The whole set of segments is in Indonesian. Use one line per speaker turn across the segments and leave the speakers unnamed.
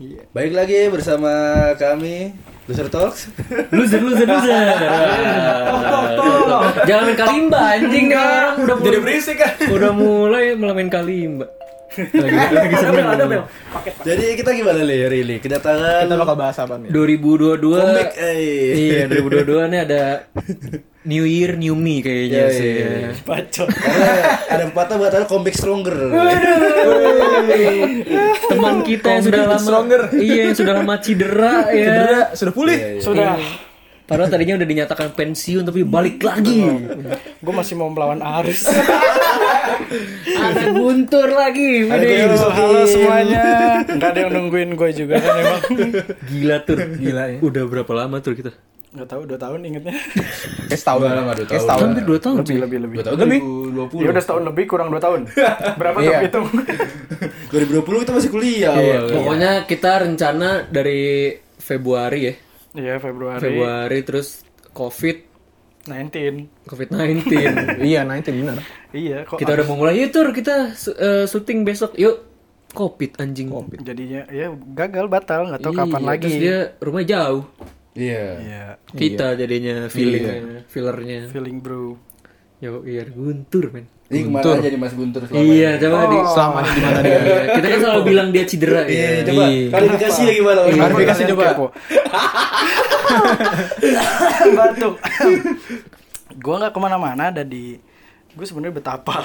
Iya.
Baik lagi bersama kami Loser Talks.
Loser, loser, loser. Jangan main kalimba anjing nih orang udah
Jadi
mulai,
berisik kan.
udah mulai malah main kalimba. Lagi lagi
Ada bel, ada
seneng.
bel.
Jadi kita gimana nih hari ini? Kedatangan
Kita bakal bahas apa nih?
2022
comeback, eh.
Iya 2022 nih ada New Year New Me kayaknya
Iya,
sih.
iya, iya.
Bacot.
Karena ada patah buatan comeback stronger.
Teman kita yang sudah lama
Stronger.
Iya yang sudah lama cedera ya.
Cedera sudah pulih.
Iya, iya.
Sudah.
Padahal tadinya udah dinyatakan pensiun tapi balik lagi.
Gue masih mau melawan arus.
ada guntur lagi.
Ada
Wede.
yang
Halo, halo
disokin.
semuanya. Enggak ada yang nungguin gue juga kan emang.
Gila tur.
Gila ya.
Udah berapa lama tur kita?
Enggak tahu 2 tahun ingetnya.
Kayak setahun.
Udah lama, dua
Kayak
tahun.
setahun.
Hampir 2 tahun. cuy.
lebih lebih.
Dua tahun
lebih.
2020.
Ya udah setahun lebih kurang 2 tahun. Berapa
Iya.
tuh hitung?
2020 kita masih kuliah.
Iya,
awal.
pokoknya kita rencana dari Februari ya.
Iya Februari
Februari terus Covid
19.
Covid-19.
Iya, nanti benar.
Iya kok.
kita udah mau mulai yuk tur kita su- eh, syuting besok yuk. Covid anjing. Covid.
jadinya ya gagal batal nggak tahu kapan lagi.
Iya, Terus dia rumah jauh.
Iya.
Iya.
Kita jadinya feelingnya, fillernya.
Feeling bro.
Yo, iya guntur men.
Ini kemana
Guntur.
aja nih Mas Guntur selama
Iya,
ini?
coba di
Selama ini gimana
Iya,
dia?
Kita kan selalu bilang dia cedera
Iya,
ya.
coba.
Iya.
Klarifikasi ya gimana? Mas?
Iya, Klarifikasi
Kalian
coba.
kepo. Batuk. gue nggak kemana-mana ada di gue sebenarnya betapa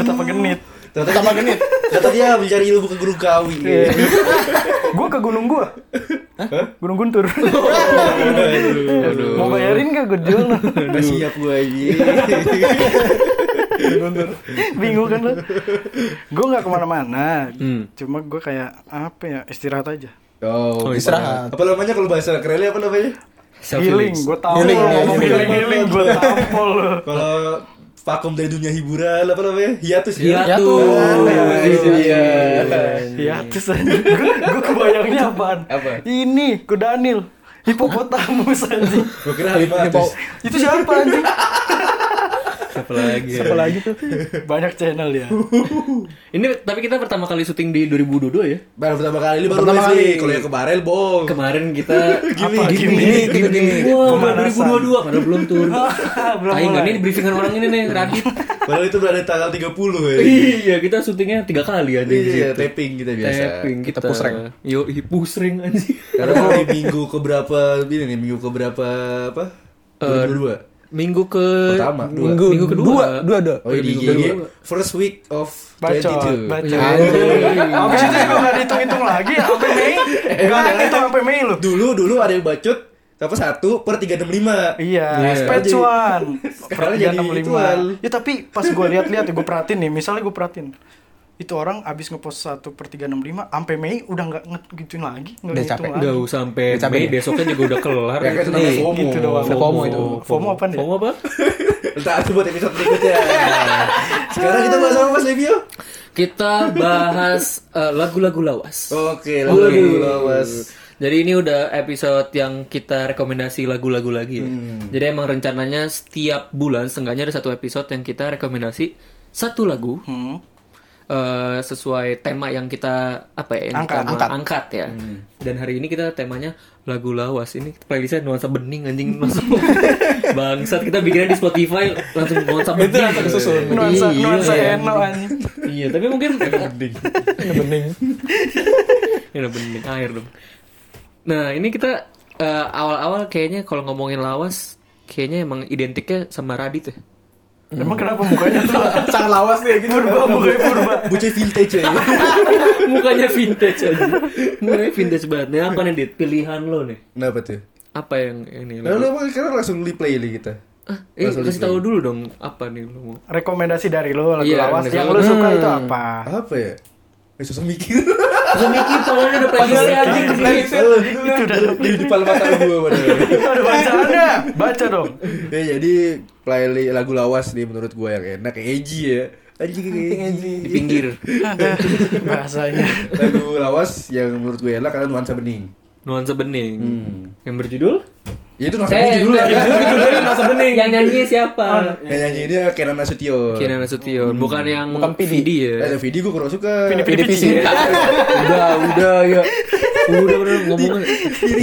betapa genit
Ternyata tambah genit. Ternyata dia mencari ilmu ke guru kawi.
gue ke gunung gue gunung guntur mau bayarin gak gue jual lo
Udah siap gue aja.
bingung kan lo gue nggak kemana-mana
Hmm.
cuma gue kayak apa ya istirahat aja
Oh,
istirahat.
Apa namanya kalau bahasa kerennya apa namanya?
healing gue tampol
Healing, ya,
healing healing,
healing.
gue tampol lo
Kalau vakum dari dunia hiburan apa namanya? Hiatus ya.
Iya tuh.
Itu dia.
Ya, terus gue kebayangnya apaan?
Apa?
Ini, ke Danil. Hipopotamus anjing.
Gue kira Halimatus.
Itu siapa anjing?
Siapa lagi?
Siapa lagi tuh?
Banyak channel ya.
Ini tapi kita pertama kali syuting di 2022 ya.
Baru pertama kali ini baru
Pertama
nulis nih.
kali.
Kalau yang kemarin bohong.
Kemarin kita
Gimik,
Apa?
gimik,
Gimik,
gimik,
gimik.
gimik.
Wah,
Pemanasan.
2022 padahal belum tur.
Belum
Aing
mulai.
ini briefingan orang ini nih Radit.
Padahal itu berada tanggal 30 ya.
Iya, kita syutingnya tiga kali anjing di
Iya,
situ.
taping kita biasa.
Tapping
Kita
kita,
pusreng.
Yo, pusreng anjing.
Karena kalau di minggu keberapa ini nih minggu keberapa apa?
Eh,
Dua
Minggu ke
Pertama, dua.
Minggu, minggu kedua.
Dua, dua, dua.
Oh, di IG.
minggu kedua.
First week of
Bacot,
22.
bacot.
Anjing.
Abis itu gue gak dihitung-hitung lagi sampai Mei. Gak ada hitung sampai Mei lo.
Dulu dulu ada yang bacot apa satu per 365.
Iya,
Iya.
Spatch
Jadi-
One.
Sekarang
Tiga
jadi
enam lima.
ituan.
Ya tapi pas gue lihat-lihat ya gue perhatiin nih, misalnya gue perhatiin itu orang abis ngepost satu per 365 sampai Mei udah nggak ngegituin lagi nggak
Udah
dihitung
capek.
lagi
Gak usah sampai
Capek
Mei
ya?
besoknya juga udah kelar.
Ya, kan itu namanya FOMO.
gitu doang.
Udah FOMO itu.
FOMO apa nih?
FOMO apa?
Entar itu buat episode berikutnya. Sekarang kita bahas apa Mas Levio?
Kita bahas eh, lagu-lagu lawas.
Oke,
Lagu-lagu
lalu lawas.
Jadi ini udah episode yang kita rekomendasi lagu-lagu lagi ya. Jadi emang rencananya setiap bulan setengahnya ada satu episode yang kita rekomendasi satu lagu
Hmm.
eh, sesuai tema yang kita apa ya yang
Angkat,
kita angkat. ya. Dan hari ini kita temanya lagu lawas. Ini playlistnya nuansa bening anjing langsung bangsat kita bikinnya di Spotify langsung nuansa bening. Itu langsung
kesusun.
nuansa nuansa ya. eno anjing
Iya, tapi mungkin
Ini bening.
Ini bening air dong. Nah, ini kita eh, awal-awal kayaknya kalau ngomongin lawas kayaknya emang identiknya sama Radit ya.
emang kenapa mukanya tuh
Sangat lawas nih gitu.
purba mukanya purba
Buce vintage ya.
Mukanya vintage aja. Mukanya vintage banget. Nah, apa nih Dit? Pilihan lo nih.
Kenapa tuh?
Apa yang ini? lagu?
Lalu emang sekarang langsung replay nih kita.
Ah, eh,
Langsung
kasih
diplay.
tahu dulu dong apa nih lo mau.
rekomendasi dari lo lagu
Iya,
lawas
rekomendasi.
yang lo suka itu apa
Apa ya? Eh susah mikir.
Gue mikir soalnya udah playlist anjing
Di- di- di depan mata gue padahal.
itu ada bacaannya baca dong
Ya jadi playlist lagu lawas nih menurut gue yang enak yang edgy ya. Anjing yang edgy.
di pinggir.
bahasanya
Lagu lawas yang menurut gue enak karena nuansa bening.
Nuansa bening.
Hmm.
Yang berjudul
Ya itu
Saya
nontonnya judulnya kan.
Yang nyanyi siapa?
Yang nyanyi dia Kenan Nasution. Hmm.
Kinan Nasution, bukan yang
Bukan Pidi.
Vidi ya.
Ada video gue kurang suka.
PDPC.
udah, udah ya. Udah udah ngomongin.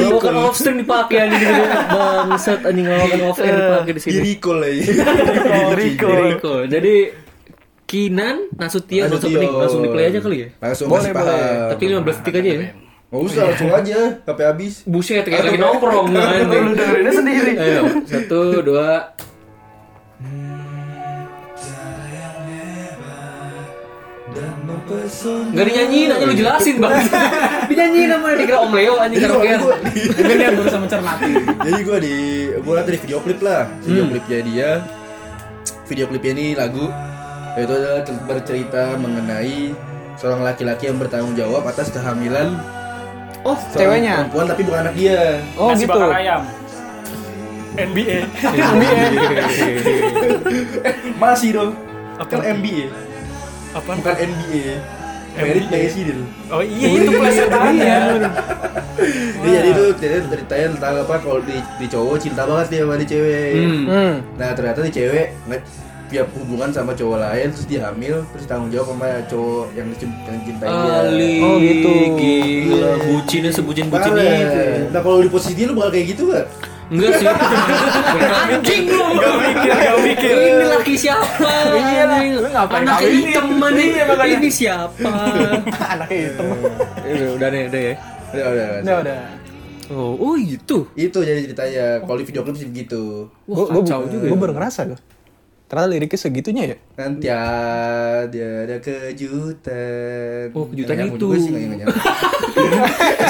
Lawakan off stream dipakai anjing gitu. Bangsat anjing lawakan off stream dipakai di sini.
Dirikol lagi.
Rico.
Jericho. Jadi Kinan Nasution langsung pening, langsung di play aja kali ya.
Langsung
Boleh,
boleh, boleh.
boleh.
Tapi 15 detik aja ya.
Eh, Nggak usah, langsung aja. Sampai habis.
Buset kayak lagi nongkrong anjing. Eh.
Lu dengerinnya sendiri.
Ayo, satu, dua, Gak dinyanyiin aja
Iya.
lu jelasin bang Dinyanyiin namanya dikira Om Leo anjing
Jadi kalau
karaokean
gue
Mungkin dia berusaha mencermati.
Jadi gue di gue nanti di video klip lah. Video klipnya dia. Video klipnya ini lagu yaitu adalah cer- bercerita mengenai seorang laki-laki yang bertanggung jawab atas kehamilan
Oh,
seorang
ceweknya.
perempuan tapi bukan anak dia.
Oh,
Nasi
gitu.
bakar ayam. NBA.
Masih dong.
Apa?
Kan MBA,
Apa?
bukan NBA. Merit President.
Oh iya itu plesetan ya.
Iya, jadi itu ceritanya, ceritanya tentang apa kalau di, di cowok cinta banget dia sama di cewek.
Hmm.
Hmm.
Nah ternyata di cewek nge- tiap hubungan sama cowok lain terus dia hamil terus tanggung jawab sama cowok yang dicin- yang cintai dia. Oh,
Ali,
Oh, gitu.
gila, bucinnya sebucin bucin
Parah.
itu.
Nah kalau di posisi dia lu bakal kayak gitu gak?
Enggak sih. Anjing lu.
Gak mikir, gak mikir.
Ini laki siapa?
Iya lah, lu ngapain
Anaknya
kawinin?
hitam mana? Ini siapa?
Anaknya hitam.
Eh, Udah deh, udah ya.
Udah, udah, udah.
Udah, udah.
Oh, oh itu.
Itu jadi ceritanya kalau di video klip sih begitu.
Gue
Wah,
gue
kacau juga. ya.
gue baru ngerasa loh. Ternyata liriknya segitunya ya.
Nanti ada ada kejutan.
Oh, kejutan
Nggak nyambung
itu.
juga sih, nggak nyambung.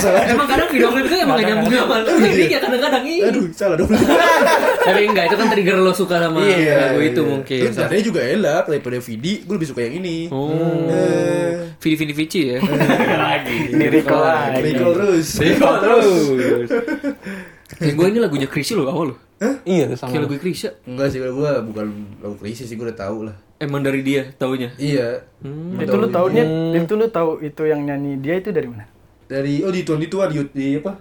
Salah.
Emang kadang video klip itu emang gak nyambung sama lirik ya kadang-kadang ini.
Aduh, salah dong.
Tapi enggak, itu kan trigger lo suka sama lagu itu mungkin.
Terus nadanya juga enak daripada Vidi, gue lebih suka yang ini.
Oh.
Eh,
Vidi Vidi Vici ya.
Ini Rico
Iya,
lagi.
Nicole terus.
terus. Eh, gue ini lagunya Krisya lo awal lo.
Iya tuh sama.
Kayak lagu Krisya.
Enggak sih kalau gua bukan lagu krisis sih gua udah tahu lah.
Emang dari dia taunya.
Iya.
Hmm. Itu lu tahunya, itu lu tahu itu yang nyanyi dia itu dari mana?
dari oh di tuan di tua di, di apa?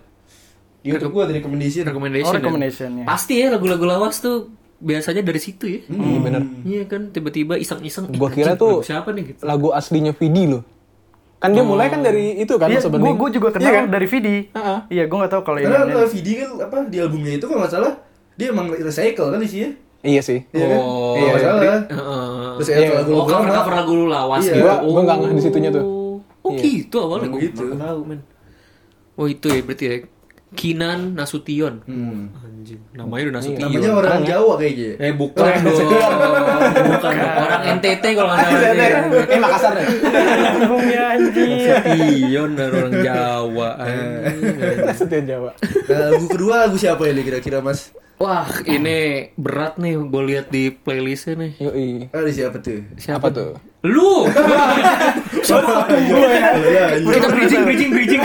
Di YouTube gua dari rekomendasi
Oh,
Recommendation. ya?
recommendation-nya.
Pasti ya lagu-lagu lawas tuh biasanya dari situ ya.
Iya
Hmm.
bener.
Iya kan tiba-tiba iseng-iseng.
Gua
"Ih,
kira
anjing,
tuh-
lagu Siapa nih gitu.
Lagu aslinya Vidi loh. Kan dia mulai kan dari itu
Oh.
kan
Iya,
sebenarnya.
gua, gua juga kenal dari Vidi.
kan? Heeh.
Iya, gua nggak tahu kalau yang
Karena
nyanyi.
kalau Vidi kan apa di albumnya itu kalau nggak salah dia emang recycle kan isinya.
Iya sih.
Iya kan?
Oh,
Kalau nggak salah.
Heeh.
Terus ada lagu
Oh,
lagu
cover
lama.
cover lagu lu lawas
Iya.
gitu.
Gua-
gua nggak ngeh di situnya tuh.
Oh
Iya.
gitu awalnya
Emang
gua
gitu.
nggak tahu men. Oh itu ya berarti ya. Kinan Nasution.
Hmm.
Anjing, namanya
Iya,
udah Nasution.
Namanya orang Jawa kayaknya.
Eh bukan dong. bukan orang NTT kalau nggak salah.
Iya.
Eh Makassar ya.
Punggungnya anjir.
Nasution dari orang Jawa. anjing.
Setia Jawa.
Nah, lagu kedua lagu siapa ini kira-kira Mas?
Wah, ini berat nih gue lihat di playlistnya nih.
Yoi.
Ah, di siapa tuh?
Apa tuh?
Lu.
Siapa tuh gue? Iya, iya.
Kita bridging bridging bridging.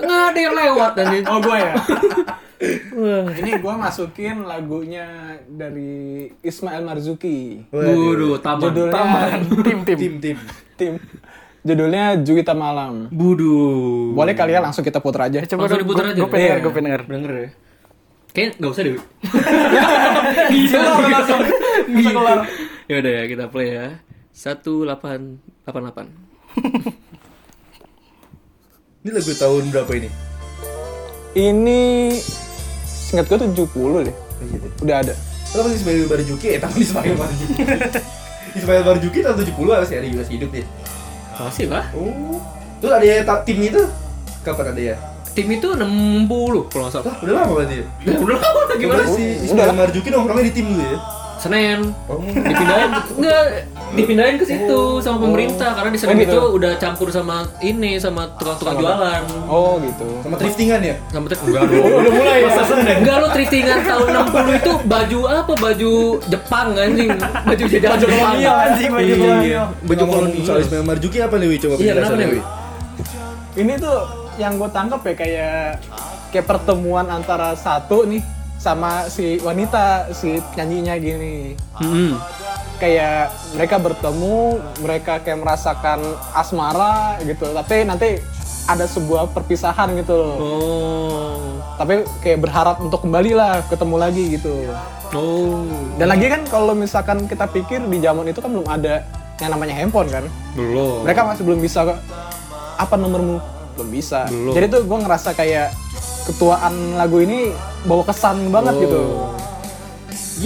Nggak ada yang lewat anjing.
Oh gue ya. Ini gue masukin lagunya dari Ismail Marzuki.
Waduh, taman.
Judulnya
Tim tim.
Tim tim.
tim. Judulnya Juwita Malam.
Budu.
Boleh kali ya langsung kita putar
Eh,
aja.
Coba
Langsung
dong,
diputar
gua-
aja.
Gua pengen
Iya.
denger, gua pengen denger.
Denger ya. Kayaknya nggak usah deh. Gila langsung. Gitu. Ya udah ya kita play ya. 1888.
Ini lagu tahun berapa ini?
Ini singkat gue 70 deh.
Iya,
Udah ada.
Kalau masih Ismail Barjuki, eh tahun Ismail Barjuki. Ismail Barjuki tahun 70 harus ada masih hidup deh.
Masih lah.
Oh. Terus ada ya ta- tim itu? Kapan ada ya?
Tim itu 60 kalau nggak salah.
Lah, udah lama berarti. ya?
Udah lama lah, gimana?
Gimana sih Ismail Marjuki nongkrongnya di tim dulu ya?
Senen.
Oh.
Dipindahin enggak dipindahin ke situ sama pemerintah karena di Senen
Oh, gitu.
itu udah campur sama ini sama tukang-tukang jualan.
Oh gitu.
Sama driftingan ya?
Sama trik enggak dong.
Udah mulai ya.
Enggak lo thriftingan tahun 60 itu baju apa? Baju Jepang anjing. Baju jajahan Jepang.
kolonial, anjing, baju kolonial.
Iya, Baju kolonial. Soal Ismail Marjuki apa nih, Wi? Coba
Iya, kenapa
penjelasannya,
nih, Wi?
Wi.
Ini tuh yang gue tangkap ya kayak kayak pertemuan antara satu nih sama si wanita si nyanyinya gini.
Hmm.
kayak mereka bertemu mereka kayak merasakan asmara gitu tapi nanti ada sebuah perpisahan gitu loh.
Oh.
Tapi kayak berharap untuk kembali lah, ketemu lagi gitu.
Oh.
Dan lagi kan kalau misalkan kita pikir di zaman itu kan belum ada yang namanya handphone kan.
Belum.
Mereka masih belum bisa kok, apa nomormu? Belum bisa.
Belum.
Jadi tuh gue ngerasa kayak ketuaan lagu ini bawa kesan banget
Oh.
gitu.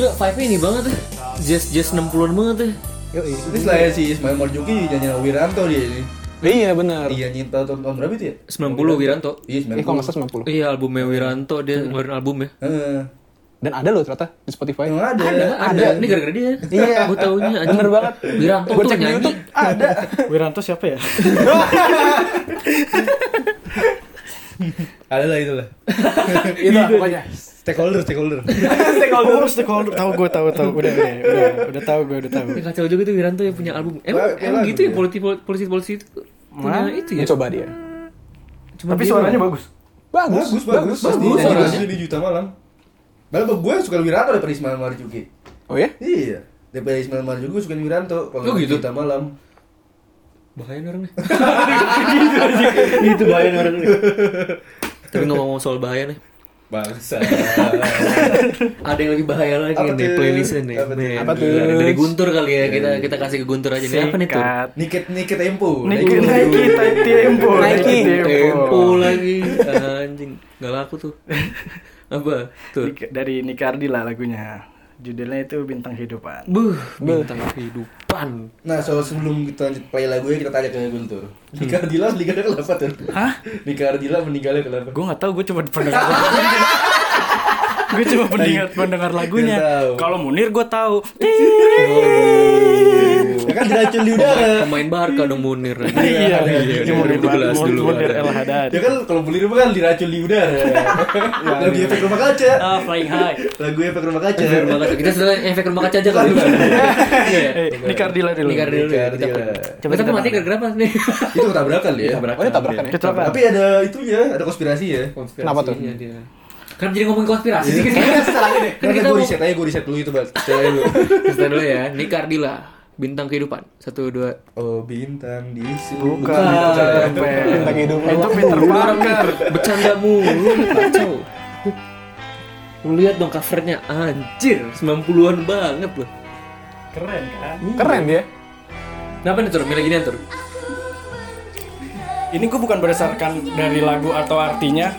Gila, Five Iya, ini banget ya. Jazz Jazz 60-an banget ya.
Yoi.
Ini selain si Ismail Marzuki nyanyi sama Wiranto dia ini.
Iya bener.
Dia nyanyi tahun tahun berapa itu ya?
90 Wiranto.
Iya
Ini kalau
90.
nggak salah 90.
Iya, albumnya Wiranto dia ngeluarin album ya.
Heeh.
Dan ada loh ternyata di Spotify.
Emang ada.
Ada, ini gara-gara dia.
Iya.
Gue taunya anjing.
Bener banget.
Wiranto
Gua
tuh
cek di
nyanyi.
YouTube ada.
Wiranto siapa ya?
Ada lah itu lah.
Itu lah Iya, pokoknya.
Stakeholder, stakeholder.
stakeholder. Oh, stakeholder. Tahu gue tahu tahu. Udah udah udah, udah tahu gue udah tahu.
Tapi kacau juga tuh Wiranto yang punya album. Emang,
Wah,
emang
lagu
gitu ya
dia.
polisi polisi polisi itu punya itu ya.
Ini coba dia.
Cuma
Tapi suaranya bagus.
Bagus,
Bagus, bagus, bagus.
bagus.
Dia
bagus.
nyanyi di Juta Malam. Malah gue suka Wiranto daripada Ismail Marzuki.
Oh ya?
Iya. Daripada Ismail Marzuki gue suka Wiranto. Kalau
Oh, gitu?
Juta Malam.
Bahaya orangnya.
itu bayangin orang ini.
Tapi ngomong-ngomong soal bahaya nih.
Bangsa.
Ada yang lebih bahaya lagi
Apa tuh?
nih playlistnya nih.
Apa tuh?
Men,
Apa tuh?
gila. Dari Guntur kali ya kita kita kasih ke Guntur aja nih. Apa nih tuh?
Niket niket empu.
Nike Nike Tempo.
Nike.
Tempo lagi anjing. Gak laku tuh. Apa? Tuh.
Nik- Dari Nikardi lah lagunya. Judulnya itu Bintang Kehidupan.
Buh, bintang kehidupan.
Nah, so sebelum kita lanjut play lagunya kita tanya ke Guntur. Nika Ardila meninggalnya kenapa tuh?
Hah?
Nika Ardila meninggalnya kenapa?
Gue nggak tahu, gue cuma pendengar. lagunya. gue cuma pendengar pendengar lagunya.
Nggak tahu.
Kalau Munir gue tahu.
Ya kan diracun di udara.
Pemain Barca dong Munir.
Iya,
iya,
iya,
iya,
Munir
2012
Munir-
dulu
Munir
ada.
El Haddad.
Ya kan kalau beli rumah kan diracun di udara. Lagu efek rumah kaca.
Ah, flying high.
Lagu efek rumah kaca.
Efek rumah kaca. Kita setelah efek rumah kaca aja kali. ya, Iya. ya?
Eh, Nikardila dulu.
Ini karena dulu ya,
Nikardila.
kita pernah.
Coba
Kita
kita
mati
makan.
gara-gara apa nih?
Itu tabrakan ya.
Oh ini tabrakan ya?
Kecelakaan.
Tapi ada itunya, ada konspirasi ya.
Kenapa tuh? Ah,
Iya, dia. Kan jadi ngomongin konspirasi
Iya.
sih
Kan
Kita
gue
mau-
riset aja, gue riset dulu itu, Bang. Saya dulu.
Kita dulu ya, ini Kardila, bintang kehidupan. Satu, dua.
Oh, bintang di
Bukan.
surga.
Pel.
Bintang kehidupan.
Eh, Itu Peter Parker.
Bercanda mulu, kacau. Lu lihat dong covernya, anjir, 90-an banget loh.
Keren kan?
Keren dia.
Kenapa nih Tur? Milih gini Tur?
Ini gue bukan berdasarkan dari lagu atau artinya.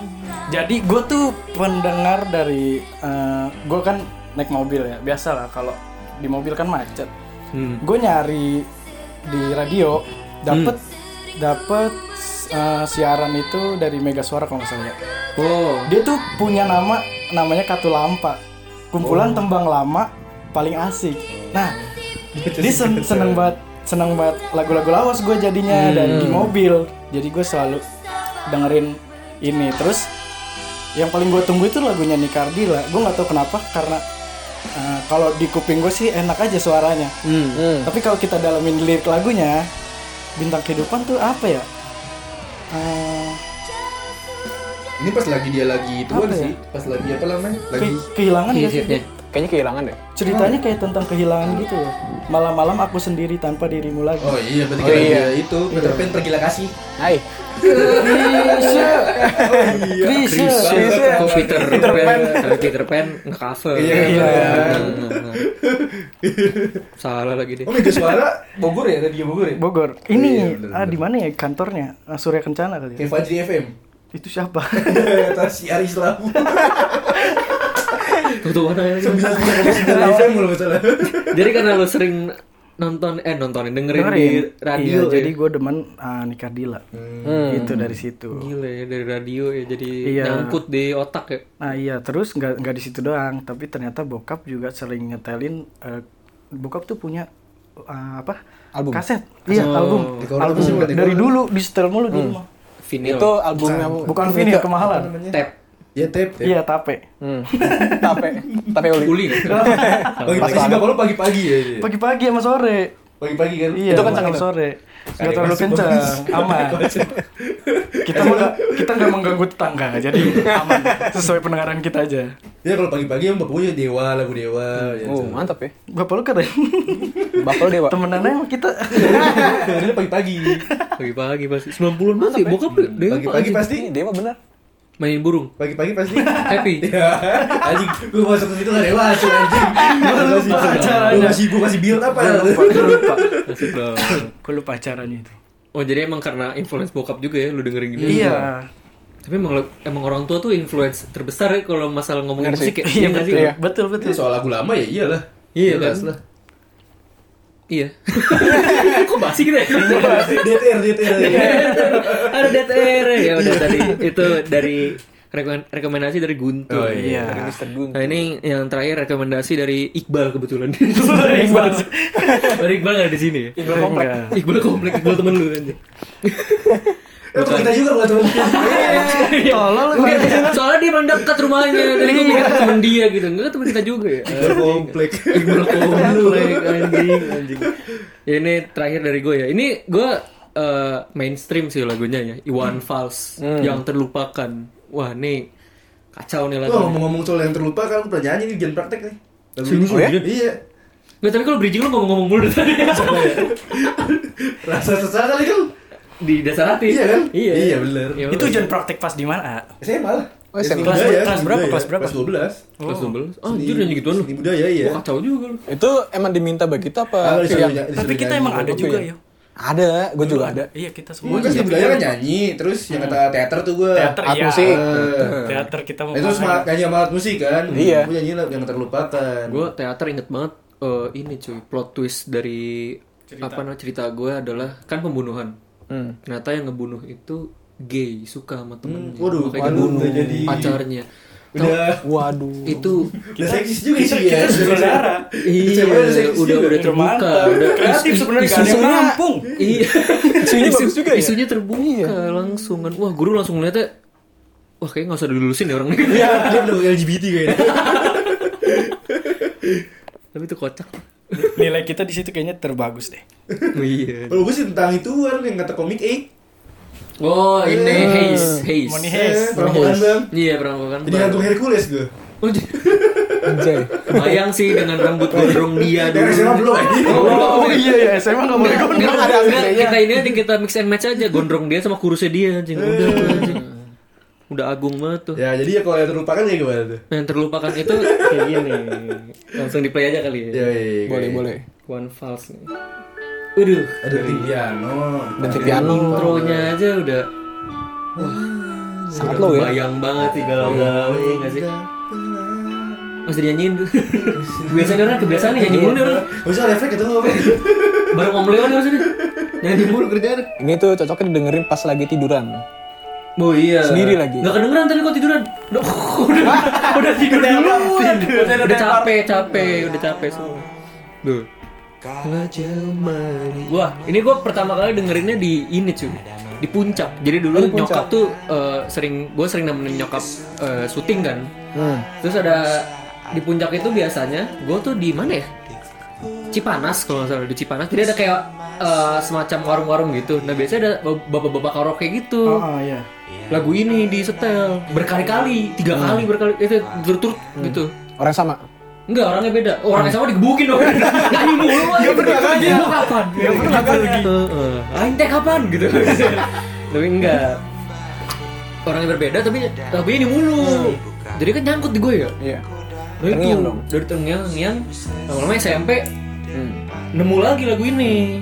Jadi gue tuh pendengar dari eh, gue kan naik mobil ya. Biasa lah kalau di mobil kan macet.
Hmm.
Gue nyari di radio dapet dapet eh, siaran itu dari Mega Suara kalau nggak salah. ya.
Oh,
Dia tuh punya nama namanya Katulampa. Kumpulan tembang lama paling asik. Nah, dia sen- seneng banget seneng banget lagu-lagu lawas gue jadinya dan di mobil. Jadi gue selalu dengerin ini. Terus yang paling gue tunggu itu lagunya Nikardila. Gue nggak tahu kenapa karena eh, kalau di kuping gue sih enak aja suaranya.
Hmm.
Tapi kalau kita dalamin lirik lagunya, bintang kehidupan tuh apa ya? Eh,
Ini pas lagi dia lagi itu kan
Apa ya?
sih, pas lagi apa namanya? Lagi
ke- kehilangan ya sih?
hitnya.
Kayaknya kehilangan deh.
ceritanya kayak tentang kehilangan gitu ya malam-malam aku sendiri tanpa dirimu lagi
Oh iya, berarti
Oh,
kita
iya.
dia itu Peter Pan pergilah kasih.
Hai.
Iya.
Krisya.
Krisya.
eh,
iya.
Kok Peter
Peter
Pan?
Pan.
Tapi Peter Pan nge-cover.
Iya.
Nah, nah, nah. Salah lagi deh.
Oh, Mega Suara Bogor ya, radio Bogor ya?
Bogor
Iya,
ini
bener,
ah, di mana ya kantornya Ah, Surya Kencana kali ya
Kayak Fajri FM.
itu siapa
Kata si Ari Islam.
Tutupan aja. lagi.
Bisa sembilan FM kalau nggak salah.
ya? Jadi karena lo sering nonton eh nontonin dengerin, di radio
Iya,
ya.
jadi gue demen ah, Nikardila
Hmm.
itu dari situ
gila ya dari radio ya jadi
Iya.
nyangkut di otak ya.
nah iya terus nggak nggak di situ doang tapi ternyata bokap juga sering ngetelin eh, bokap tuh punya ah, apa
Album.
kaset iya album
Recorder
album
sih, bukan
dari
recorder.
dulu di setel mulu di rumah
Vinyl.
Oh, Itu albumnya
bukan vinyl kemahalan
tap
Ya tep. tep.
iya tape
Hmm. Tape. Tape
uli.
uli.
Pagi-pagi sih nggak perlu pagi-pagi ya.
Iya.
dia.
pagi-pagi sama sore
Pagi-pagi kan.
Iya,
Itu kencang
makan
itu?
sore. Gak
Kali
terlalu
masuk
kencang,
bagus.
aman. Kita nggak kita nggak mengganggu tetangga, jadi aman sesuai pendengaran kita aja.
Ya kalau pagi-pagi yang bapaknya dewa, lagu dewa. ya,
Oh,
gitu.
mantap ya.
Bapak lu keren.
Bapak lu dewa.
Temenan aja sama kita.
Jadi Iya, pagi-pagi.
Pagi-pagi pasti 90-an pasti bokap dia
Pagi-pagi pasti.
Ini dewa bener.
mainin burung.
Pagi-pagi pasti.
Happy.
Ya, anjing, gue masuk ke situ gak dewa, anjing. Gue masih, gue masih, gue masih build apa ya?
Gue lupa.
Asik dong.
Gue lupa acaranya itu.
Oh jadi emang karena influence bokap juga ya lu dengerin gitu.
Iya.
Tapi emang emang orang tua tuh influence terbesar ya kalau masalah ngomongin
Bener sih.
musik ya.
Iya
nggak
betul. Iya.
sih?
Betul
Itu
betul.
soal lagu lama ya, iyalah.
Iya,
Jelas
kan?
lah.
Iya. Kok basi gitu ya?
DTR, DTR.
Iya.
Ada DTR ya udah tadi itu dari rekomen- rekomendasi dari Guntur.
Oh, iya.
Dari
Iya.
Mr. Gun.
Nah ini yang terakhir rekomendasi dari Iqbal kebetulan.
Iqbal.
Dari Iqbal nggak di sini. ya?
Iya.
Iqbal komplek.
Enggak.
Iqbal komplek Iqbal temen lu anjing.
Eh, bukan kita Iya, juga bukan
Iya.
temen.
Tolol lu.
Soalnya dia paling dekat rumahnya
Iya.
Jadi gue mikir temen dia gitu Enggak temen kita juga ya
Komplek.
Iqbal komplek anjing anjing ya, Ini terakhir dari gue ya Ini gue eh, mainstream sih lagunya ya Iwan
Hmm.
Fals Yang terlupakan Wah nih Kacau nih
Wah,
lagu
ngomong-ngomong soal yang terlupa kan, gue pernah nyanyi nih, jangan praktek nih. Lagu
Serius,
ini.
oh ya?
Iya.
Nggak tadi kalau bridging lu ngomong-ngomong mulu tadi
ya? Rasa sesal kali kan?
Di dasar hati
Iya kan?
Iya
Iya, bener.
Ya,
Itu
udah.
ujian praktek pas di mana? A?
SMA lah.
Oh, SMA.
Seni
Kelas-
budaya,
kelas
seni
berapa,
budaya.
kelas berapa?
Kelas 12.
Kelas 12 Oh
Seni-
jujur nyanyi gituan lu
Seni budaya, iya.
Wah kacau juga lu
Itu emang diminta bagi
Ah,
kita apa?
disuruh
Yang-
nyanyi-
Iya. Tapi
disuruh
kita
nyanyi.
emang ada
Apa
juga
ya?
ya.
Ada, gue juga ada.
Iya kita semua.
Gue kan seni budaya kan nyanyi, terus yang kata teater tuh gue.
Teater
Art
iya.
musik.
Eh,
Teater kita mau.
Nah, itu
main.
sama nyanyi sama alat musik kan?
Iya.
Gue nyanyi lah, jangan terlupakan.
Gue teater inget banget eh, ini cuy plot twist dari apa namanya cerita gue adalah kan pembunuhan. Ternyata yang ngebunuh itu gay suka sama temennya,
waduh, waduh,
makanya ngebunuh
udah jadi-
pacarnya.
udah
Waduh.
Itu
udah seksis juga
kita-
sih
kita
ya.
saudara.
iya
Cewek udah seksis juga.
udah
ya?
udah terbuka udah
Kreatif sebenarnya kan.
isunya-
Kampung.
iya
Isunya bagus juga ya?
isunya terbuka langsung kan wah guru langsung ngeliatnya wah kayaknya nggak usah dilulusin ya orang ini
Iya, dia belum LGBT kayaknya.
tapi itu kocak
Nilai kita di situ kayaknya terbagus deh.
iya
Kalau gue sih tentang itu kan yang kata komik eh.
oh ini
Eh.
haze haze
Money
Eh,
Haze.
perampokan bang.
iya perampokan
Jadi hantu Hercules gue.
Oh, j-
Anjay.
Kebayang sih dengan rambut gondrong dia
Dari SMA belum
dulu.
aja.
Oh, iya ya, SMA enggak boleh Iya. gondrong.
Enggak, enggak, enggak, kita ini aja, kita mix and match aja gondrong dia sama kurusnya dia anjing. Udah tuh, anjing. Udah agung banget tuh.
Ya jadi ya kalau yang terlupakan kayak gimana tuh?
Yang terlupakan itu kayak gini. Langsung di play aja kali ya.
Ya, iya, iya,
Boleh,
kayak-
boleh.
One false nih. Waduh,
Ada Tipiano.
Detik
Iya.
piano
intronya aja udah
sangat low ya.
bayang banget sih galau-galau
Iya.
ya enggak sih? Masih dinyanyiin tuh. Biasanya orang kebiasaan nih nyanyi mulu nih orang.
Gak usah refleks gitu, itu apa?
Bareng Om Leon maksudnya. Nyanyi mulu kerjaan.
Ini tuh cocoknya didengerin pas lagi tiduran.
Oh iya.
Sendiri lagi.
Gak kedengeran tadi kok tiduran. Duh, udah, udah tidur dulu.
Iya.
Udah, capek, capek, udah capek semua. Duh.
Nah,
Wah, ini gue pertama kali dengerinnya di ini cuy Oh, di puncak. Jadi dulu nyokap tuh eh, sering gue sering nemenin nyokap eh, syuting kan. Terus ada di puncak itu biasanya gue tuh di mana ya? Cipanas kalau nggak salah di Cipanas. Jadi ada kayak eh, semacam warung-warung gitu. Nah biasanya ada bapak-bapak karaoke gitu
Oh, oh, iya.
lagu ini di setel berkali-kali tiga
Hmm.
kali berkali itu berturut gitu
Orang sama.
enggak orangnya beda Oh, orangnya
Hmm.
sama digebukin dong nyanyi mulu ya bener aja mau kapan ya bener lagi lain teh kapan gitu tapi enggak orangnya berbeda tapi tapi ini mulu jadi kan nyangkut di gue ya
Iya.
Nah, itu.
Terngiang dong.
dari terngiang yang lama-lama SMP Hmm. nemu lagi lagu ini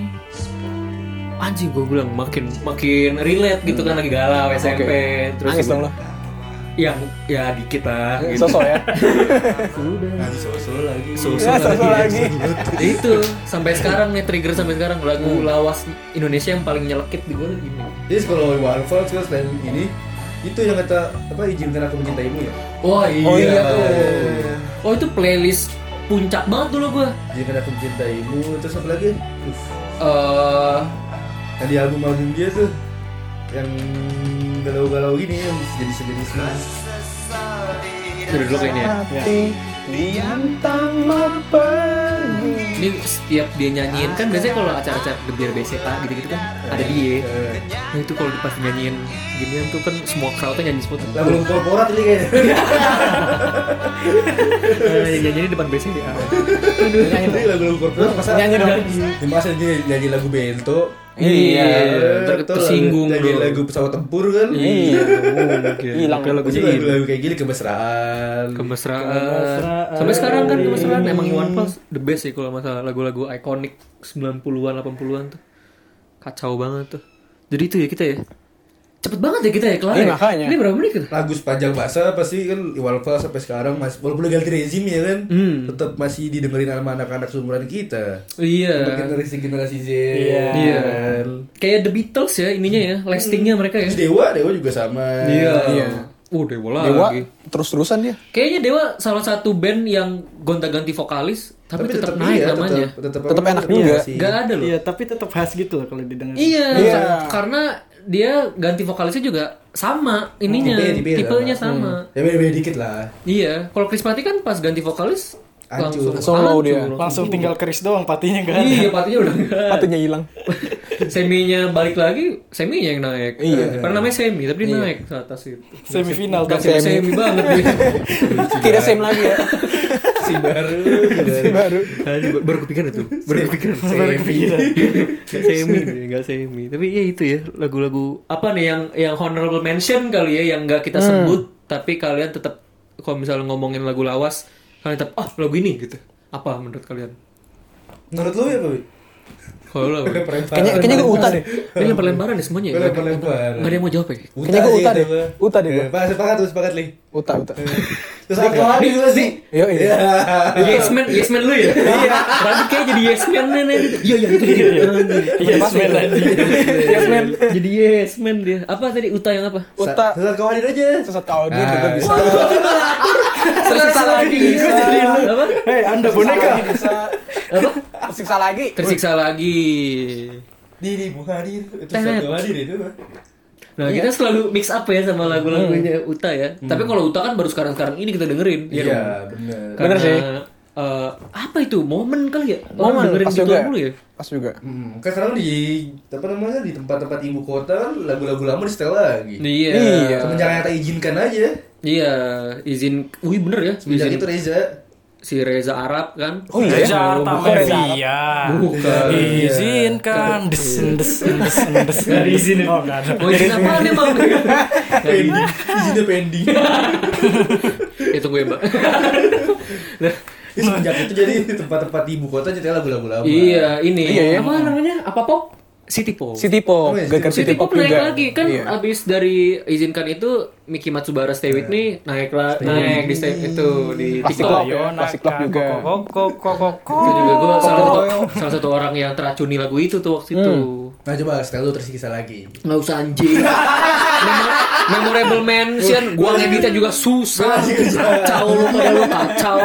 anjing gue bilang makin makin relate gitu kan lagi galau SMP terus
Nangis
gue-
dong lo.
yang ya dikit lah gitu.
Sosok ya.
Udah.
Nanti sosol lagi. Nah,
Susu
Ya, sosok lagi.
Nah, itu sampai sekarang nih trigger sampai sekarang lagu
Hmm.
lawas Indonesia yang paling nyelekit di gue gini
Jadi kalau One Fox kan selain ini itu yang kata apa izinkan aku mencintaimu ya?
wah iya,
Oh, iya
tuh.
Eh,
oh itu playlist puncak banget dulu gue
Izinkan aku mencintaimu terus apa lagi? Uf,
Eh,
yang di album album dia tuh yang galau-galau gini yang jadi sejenis mas.
dari dulu kayaknya ya.
Diantam apa?
ini setiap dia nyanyiin kan biasanya kalau acara-acara the biar BCA gitu gitu kan ada
Iya.
dia nah itu kalau pas nyanyiin ginian tuh kan semua crowdnya nyanyi semua tuh
Lah belum korporat ini kayaknya.
Eh, nyanyi di depan BCDA
Iya,
Ini lagu belum korporat masa
Nyanyi dong.
Di masa dia nyanyi lagu bento.
Iya,
Eh,
ter-
atau
tersinggung
lagu, nyanyi
dong.
lagu pesawat tempur kan.
Iya. Hilang.
Makanya
Lagu
lagunya
lagu,
ini
lagu kayak gini kemesraan.
kemesraan.
Kemesraan.
Sampai sekarang kan kemesraan emang Iwan Fals the best sih kalau masalah lagu-lagu ikonik 90-an 80-an tuh. Kacau banget tuh. Jadi itu ya kita ya. Cepet banget ya kita ya kelar.
Iya,
ya.
makanya.
Ini berapa menit kita?
lagu sepanjang masa pasti kan Iwan Fals sampai sekarang masih walaupun udah ganti rezim ya kan tetap masih didengerin sama anak-anak seumuran kita
Iya.
Untuk generasi generasi Z kan?
Iya. Kayak The Beatles ya ininya ya, lastingnya mereka ya.
terus
Iya.
Dewa Dewa juga sama
Iya. Oh, Dewa lagi.
Dewa terus-terusan dia.
Kayaknya Dewa salah satu band yang gonta-ganti vokalis tapi, tetap,
iya,
naik namanya.
tetap, tetap,
Tetap
apa,
enak juga.
masih-
Gak ada loh.
Iya, tapi tetap khas gitu loh kalau didengar.
Iya,
Iya.
karena dia ganti vokalisnya juga sama ininya,
Tipe- tipe
tipenya
sama.
sama.
ya beda beda dikit lah
Iya, kalau Chris Patti kan pas ganti vokalis
Hancur.
langsung
Solo
hancur.
dia.
Langsung tinggal keris doang patinya enggak ada.
Iya, patinya udah enggak.
Patungnya hilang.
Seminya balik lagi, seminya yang naik.
Iya.
Karena namanya semi, tapi dia naik ke atas itu.
Semifinal
Gak
tapi
semi, semi banget dia.
Tidak same lagi ya.
si baru
Si baru.
Aduh, baru kepikiran itu. Baru kepikiran.
baru kepikiran.
Gak semi, dia, gak semi. Tapi ya itu ya lagu-lagu apa nih yang yang honorable mention kali ya yang gak kita sebut tapi kalian tetap kalau misalnya ngomongin lagu lawas kalian tetap ah lagu ini gitu. Apa menurut kalian?
menurut lu ya Pak
Kalau lo
Kayaknya kayaknya gue uta deh.
ini lempar-lemparan ya semuanya. ya?
gue lempar lempar
Gak ada yang mau jawab ya?
Kayaknya gua Uta deh. Uta deh gua.
Iya, sepakat tuh sepakat li
Uta, uta.
terus apa lagi gue sih
Iya. Yo, iya.
Yes man, yes man lu ya? Iya. Berarti kayak jadi yes man nih. nih. Iya, iya, gitu, gitu.
Iya, semen lagi.
Yes man. Jadi yes man dia. Apa tadi Uta yang apa?
Uta.
sesat kawanin aja
Sesat kau dia juga
Nah,
bisa.
Tersiksa lagi. Apa?
Hei, Anda boneka.
Lagi bisa.
Apa?
Siksa lagi.
Tersiksa lagi.
Diri Bukhari itu sesat kawanin itu Pak.
Nah,
Iya.
kita selalu mix up ya sama
Hmm.
lagu-lagunya Uta ya. Tapi kalau Uta kan baru sekarang-sekarang ini kita dengerin. ya
iya
dong?
bener
Karena,
Bener sih.
eh, apa itu? Momen kali ya? Orang
Momen
dengerin
pas
gitu
juga.
dulu ya?
Pas juga.
Hmm, kan sekarang di apa namanya di tempat-tempat ibu kota kan lagu-lagu lama di setel lagi.
Iya.
Iya.
Semenjak yang tak izinkan aja.
Iya, izin. Wih, bener ya.
Semenjak
Izin
itu Reza.
si Reza Arab kan.
Iya, gitu Oh iya.
Reza Artamevia.
Bukan.
Izinkan desen desen desen desen. Dari izin oh enggak ada.
Oh
Iya.
izin apa nih bang?
Pending. Izinnya pending.
ya tunggu ya mbak. Nah,
Jadi semenjak itu jadi tempat-tempat di ibu kota nyetel lagu-lagu lama.
iya ini.
Iya, iya.
Apa namanya? Apa pop? City pop.
City
Oh,
Pop,
iya,
geger
City
City Pop
naik
juga.
lagi kan
Iya.
abis dari izinkan itu Miki Matsubara Stay With Me
Iya.
naik lah naik di stay itu di
Plastic
TikTok.
Love ya, Plastic Love juga.
kan. Kok kok kok
Itu juga gue salah satu, salah satu orang yang teracuni lagu itu tuh waktu
Hmm.
itu.
Nah coba setel lu tersiksa lagi.
Nggak usah anjing. Memo- Memorable mention, gua ngeditnya juga susah. Kacau lu, lu kacau.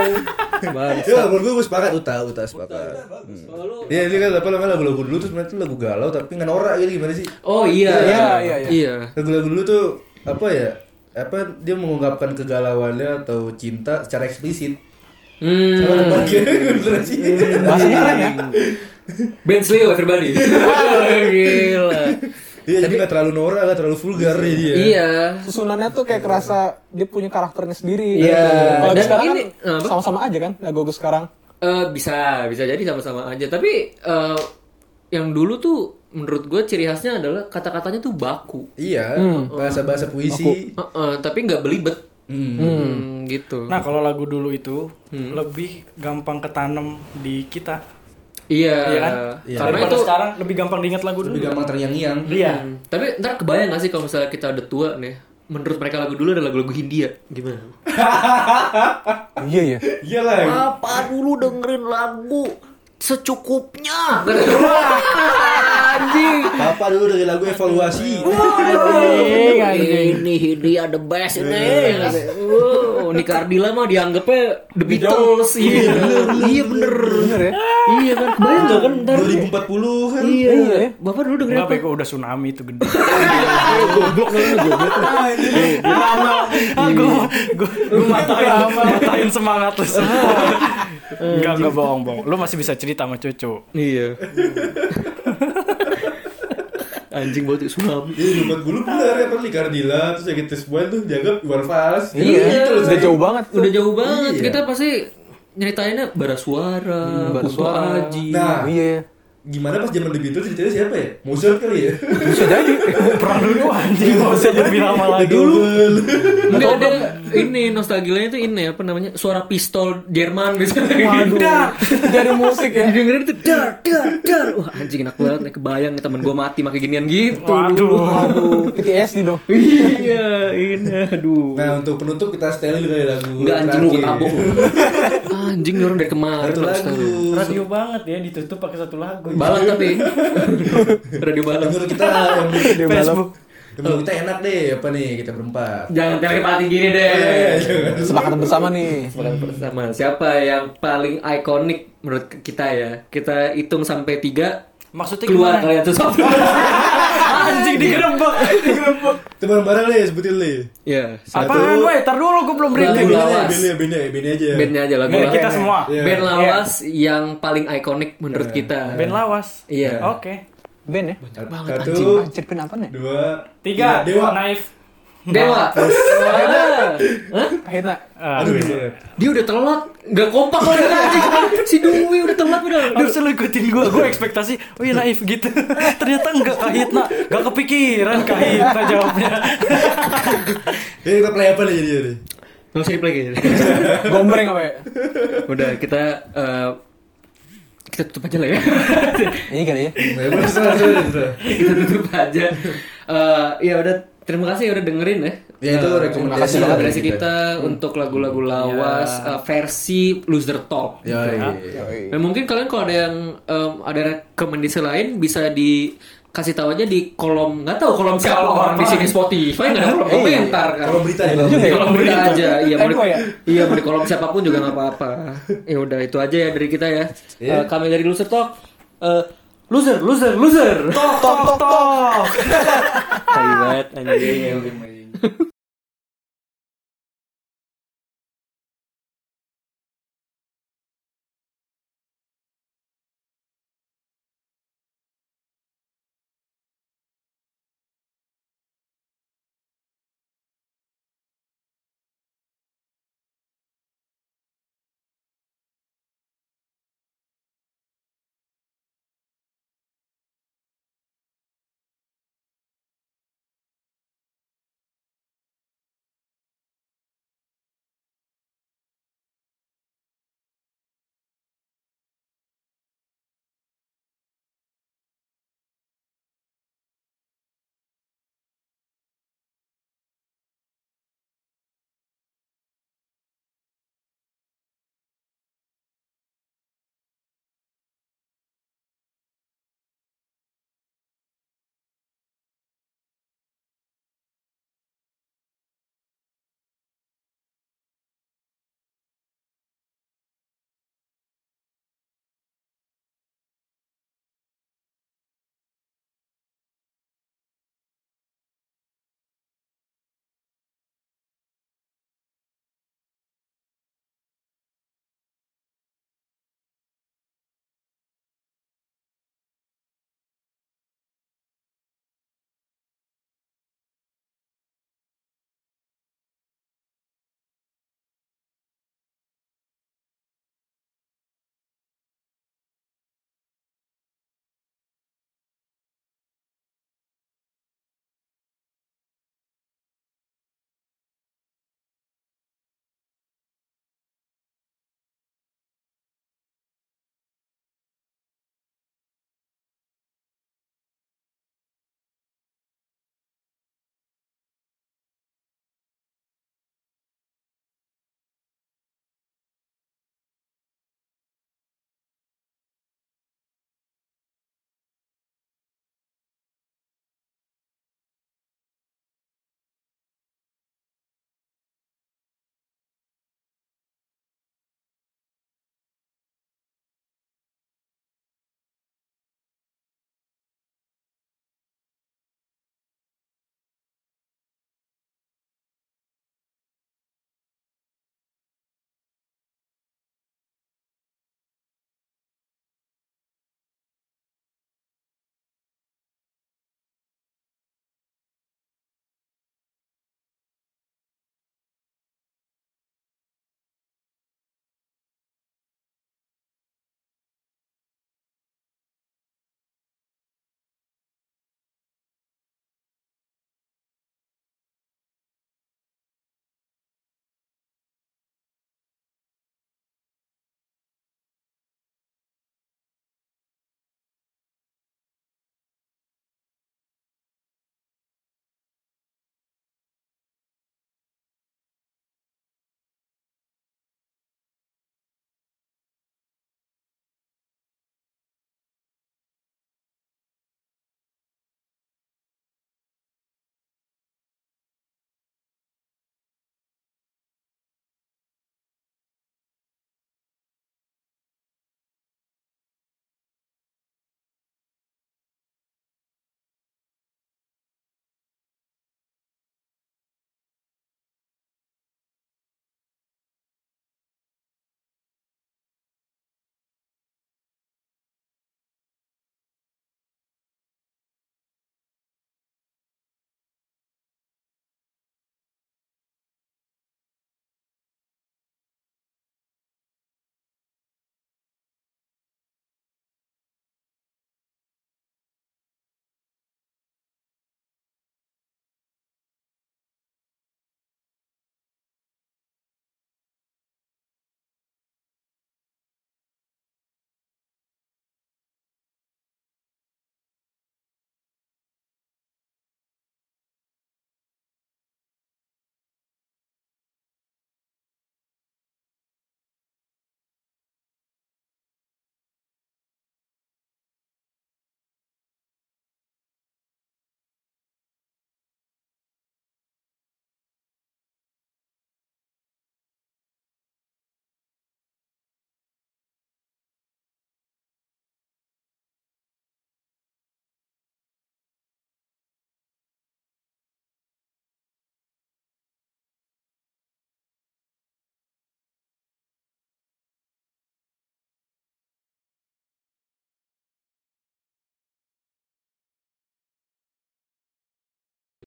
Bang.
Ya, menurut gue, gue sepakat Uta, Uta sepakat. Hmm. Iya, ini kan apa namanya lagu-lagu dulu tuh sebenarnya tuh lagu galau tapi ngenorak gitu gimana sih?
Oh iya,
Iya, iya, iya.
Lagu-lagu dulu tuh apa ya? Apa dia mengungkapkan kegalauannya atau cinta secara eksplisit?
Hmm.
Sama gitu, pergi generasi.
Iya.
Bahasa keren ya.
Ben Sleo everybody. Gila.
Iya, jadi nggak terlalu norak, nggak terlalu vulgar ya dia.
Iya.
Susunannya tuh kayak kerasa dia punya karakternya sendiri.
Iya.
Kalau
Dan
sekarang
ini,
kan
apa?
sama-sama aja kan lagu gue sekarang.
Eh, bisa, bisa jadi sama-sama aja. Tapi eh, yang dulu tuh menurut gue ciri khasnya adalah kata-katanya tuh baku.
Iya,
Hmm.
bahasa-bahasa puisi.
Eh, eh, tapi nggak belibet. Hmm, gitu.
Nah, kalau lagu dulu itu lebih gampang ketanam di kita.
iya.
Iya kan?
Karena
Daripada
itu
sekarang lebih gampang diingat lagu
Lebih
dulu.
gampang terngiang-ngiang.
Iya.
Hmm, Tapi ntar kebayang gak sih kalau misalnya kita udah tua nih, menurut mereka lagu dulu adalah lagu-lagu Hindia. Gimana?
Iya iya.
Iya lah.
Apa dulu dengerin lagu secukupnya? Wah, Anjing.
Papa dulu dari lagu evaluasi.
Iya,
ini Hindia the best ini.
iya.
Wow, ini Kardila mah dianggapnya The Beatles. Iya, iya bener.
Bener ya.
Iya kan, kebayang gak kan ntar?
2040 kan.
Iya,
Iya, ya.
Bapak dulu dengerin
Enggak
apa?
bego udah tsunami itu gede.
Goblok lu goblok.
Ah,
Iya,
Gue gue matain matain semangat lu. semua. Ah. Enggak enggak Iya. bohong bohong. Lu masih bisa cerita sama cucu.
Iya. anjing buat tsunami.
Iya, Jumat
Ah.
Gulu bener ya, Perli Cardila, terus yang gitu sebuah tuh jaga Iwan Fals.
Iya,
Gitu loh,
udah
saya.
jauh banget.
Udah jauh banget.
Iya.
Kita pasti nyeritainnya bara suara,
Hmm, Bara
Kunto
Suara.
Aji.
Nah,
Iya.
gimana pas zaman The Beatles ceritanya siapa ya? Mozart kali ya?
Bisa jadi.
Perang dulu anjing nggak usah lebih lama lagi.
Dulu.
Enggak ada ini nostalgianya itu ini apa namanya? Suara pistol Jerman gitu. Waduh.
Dar, dari musik ya.
Dengerin itu dar dar dar. Wah, anjing enak banget nih kebayang nih temen gua mati pakai ginian gitu.
Waduh.
Aduh, PTSD dong.
iya, ini aduh.
Nah, untuk penutup kita setelin dulu kali ya, lagu.
Enggak anjing lu
terakhir.
ketabok lu. Anjing orang dari kemarin
Satu
terus
lagu.
Radio banget ya ditutup pakai satu lagu.
Balap tapi. Radio balap.
Menurut kita yang
Facebook.
menurut kita enak deh apa nih kita berempat.
Jangan pakai pati gini deh.
Kesepakatan bersama nih.
Bukan bersama. Siapa yang paling ikonik menurut kita ya? Kita hitung sampai tiga.
Maksudnya
keluar
gimana? Ah,
kalian tuh satu.
Anjing digerebek, digerebek.
Itu bareng-bareng deh sebutin deh.
Ya.
Apaan weh? Tar dulu gua belum
Lagu
breaking.
lawas.
Bini, bini, bini aja.
Bandnya aja lagu
Nih
lawas.
kita semua.
Iya.
Band lawas yang paling ikonik menurut kita.
Band Oh. lawas.
Iya.
Oke.
Ben ya.
Satu,
Anjir, Ben ya? apa nih?
dua, Iya,
Tiga.
Dewa.
Naif.
Dewa. Hah?
Akhirnya.
Ah,
Aduh, iya.
Iya. Dia udah telat, nggak kompak lagi anjing. Si Dwi udah telat udah.
Harusnya lu ikutin gue, gue ekspektasi, oh iya naif gitu Ternyata enggak kahit nak, gak kepikiran kahit nah jawabnya
Jadi kita play apa nih jadi jadi?
Nggak usah diplay kayaknya.
Gombreng apa ya?
Udah kita eh, kita tutup aja lah ya.
Ini kali ya.
Nah, ya, terserah, terserah, terserah.
kita tutup aja. Eh, ya udah terima kasih ya udah dengerin ya.
Ya, itu
Eh,
rekomendasi
rekomendasi
banget
rekomendasi
dari kita. Hmm.
kita untuk lagu-lagu lawas eh, versi Loser Talk.
Ya, iya.
Dan mungkin kalian kalau ada yang em, ada rekomendasi lain bisa di kasih tahu aja di kolom nggak tahu kolom siapa orang di sini Spotify nggak ada kolom komentar kan
Kalau berita ya, kalau
di
berita.
kolom berita aja iya mau di,
Eko ya?
iya mau di kolom siapapun juga nggak apa-apa ya udah itu aja ya dari kita ya Eh, kami dari Loser Talk eh, loser loser loser
Tok tok tok
Tai banget anjing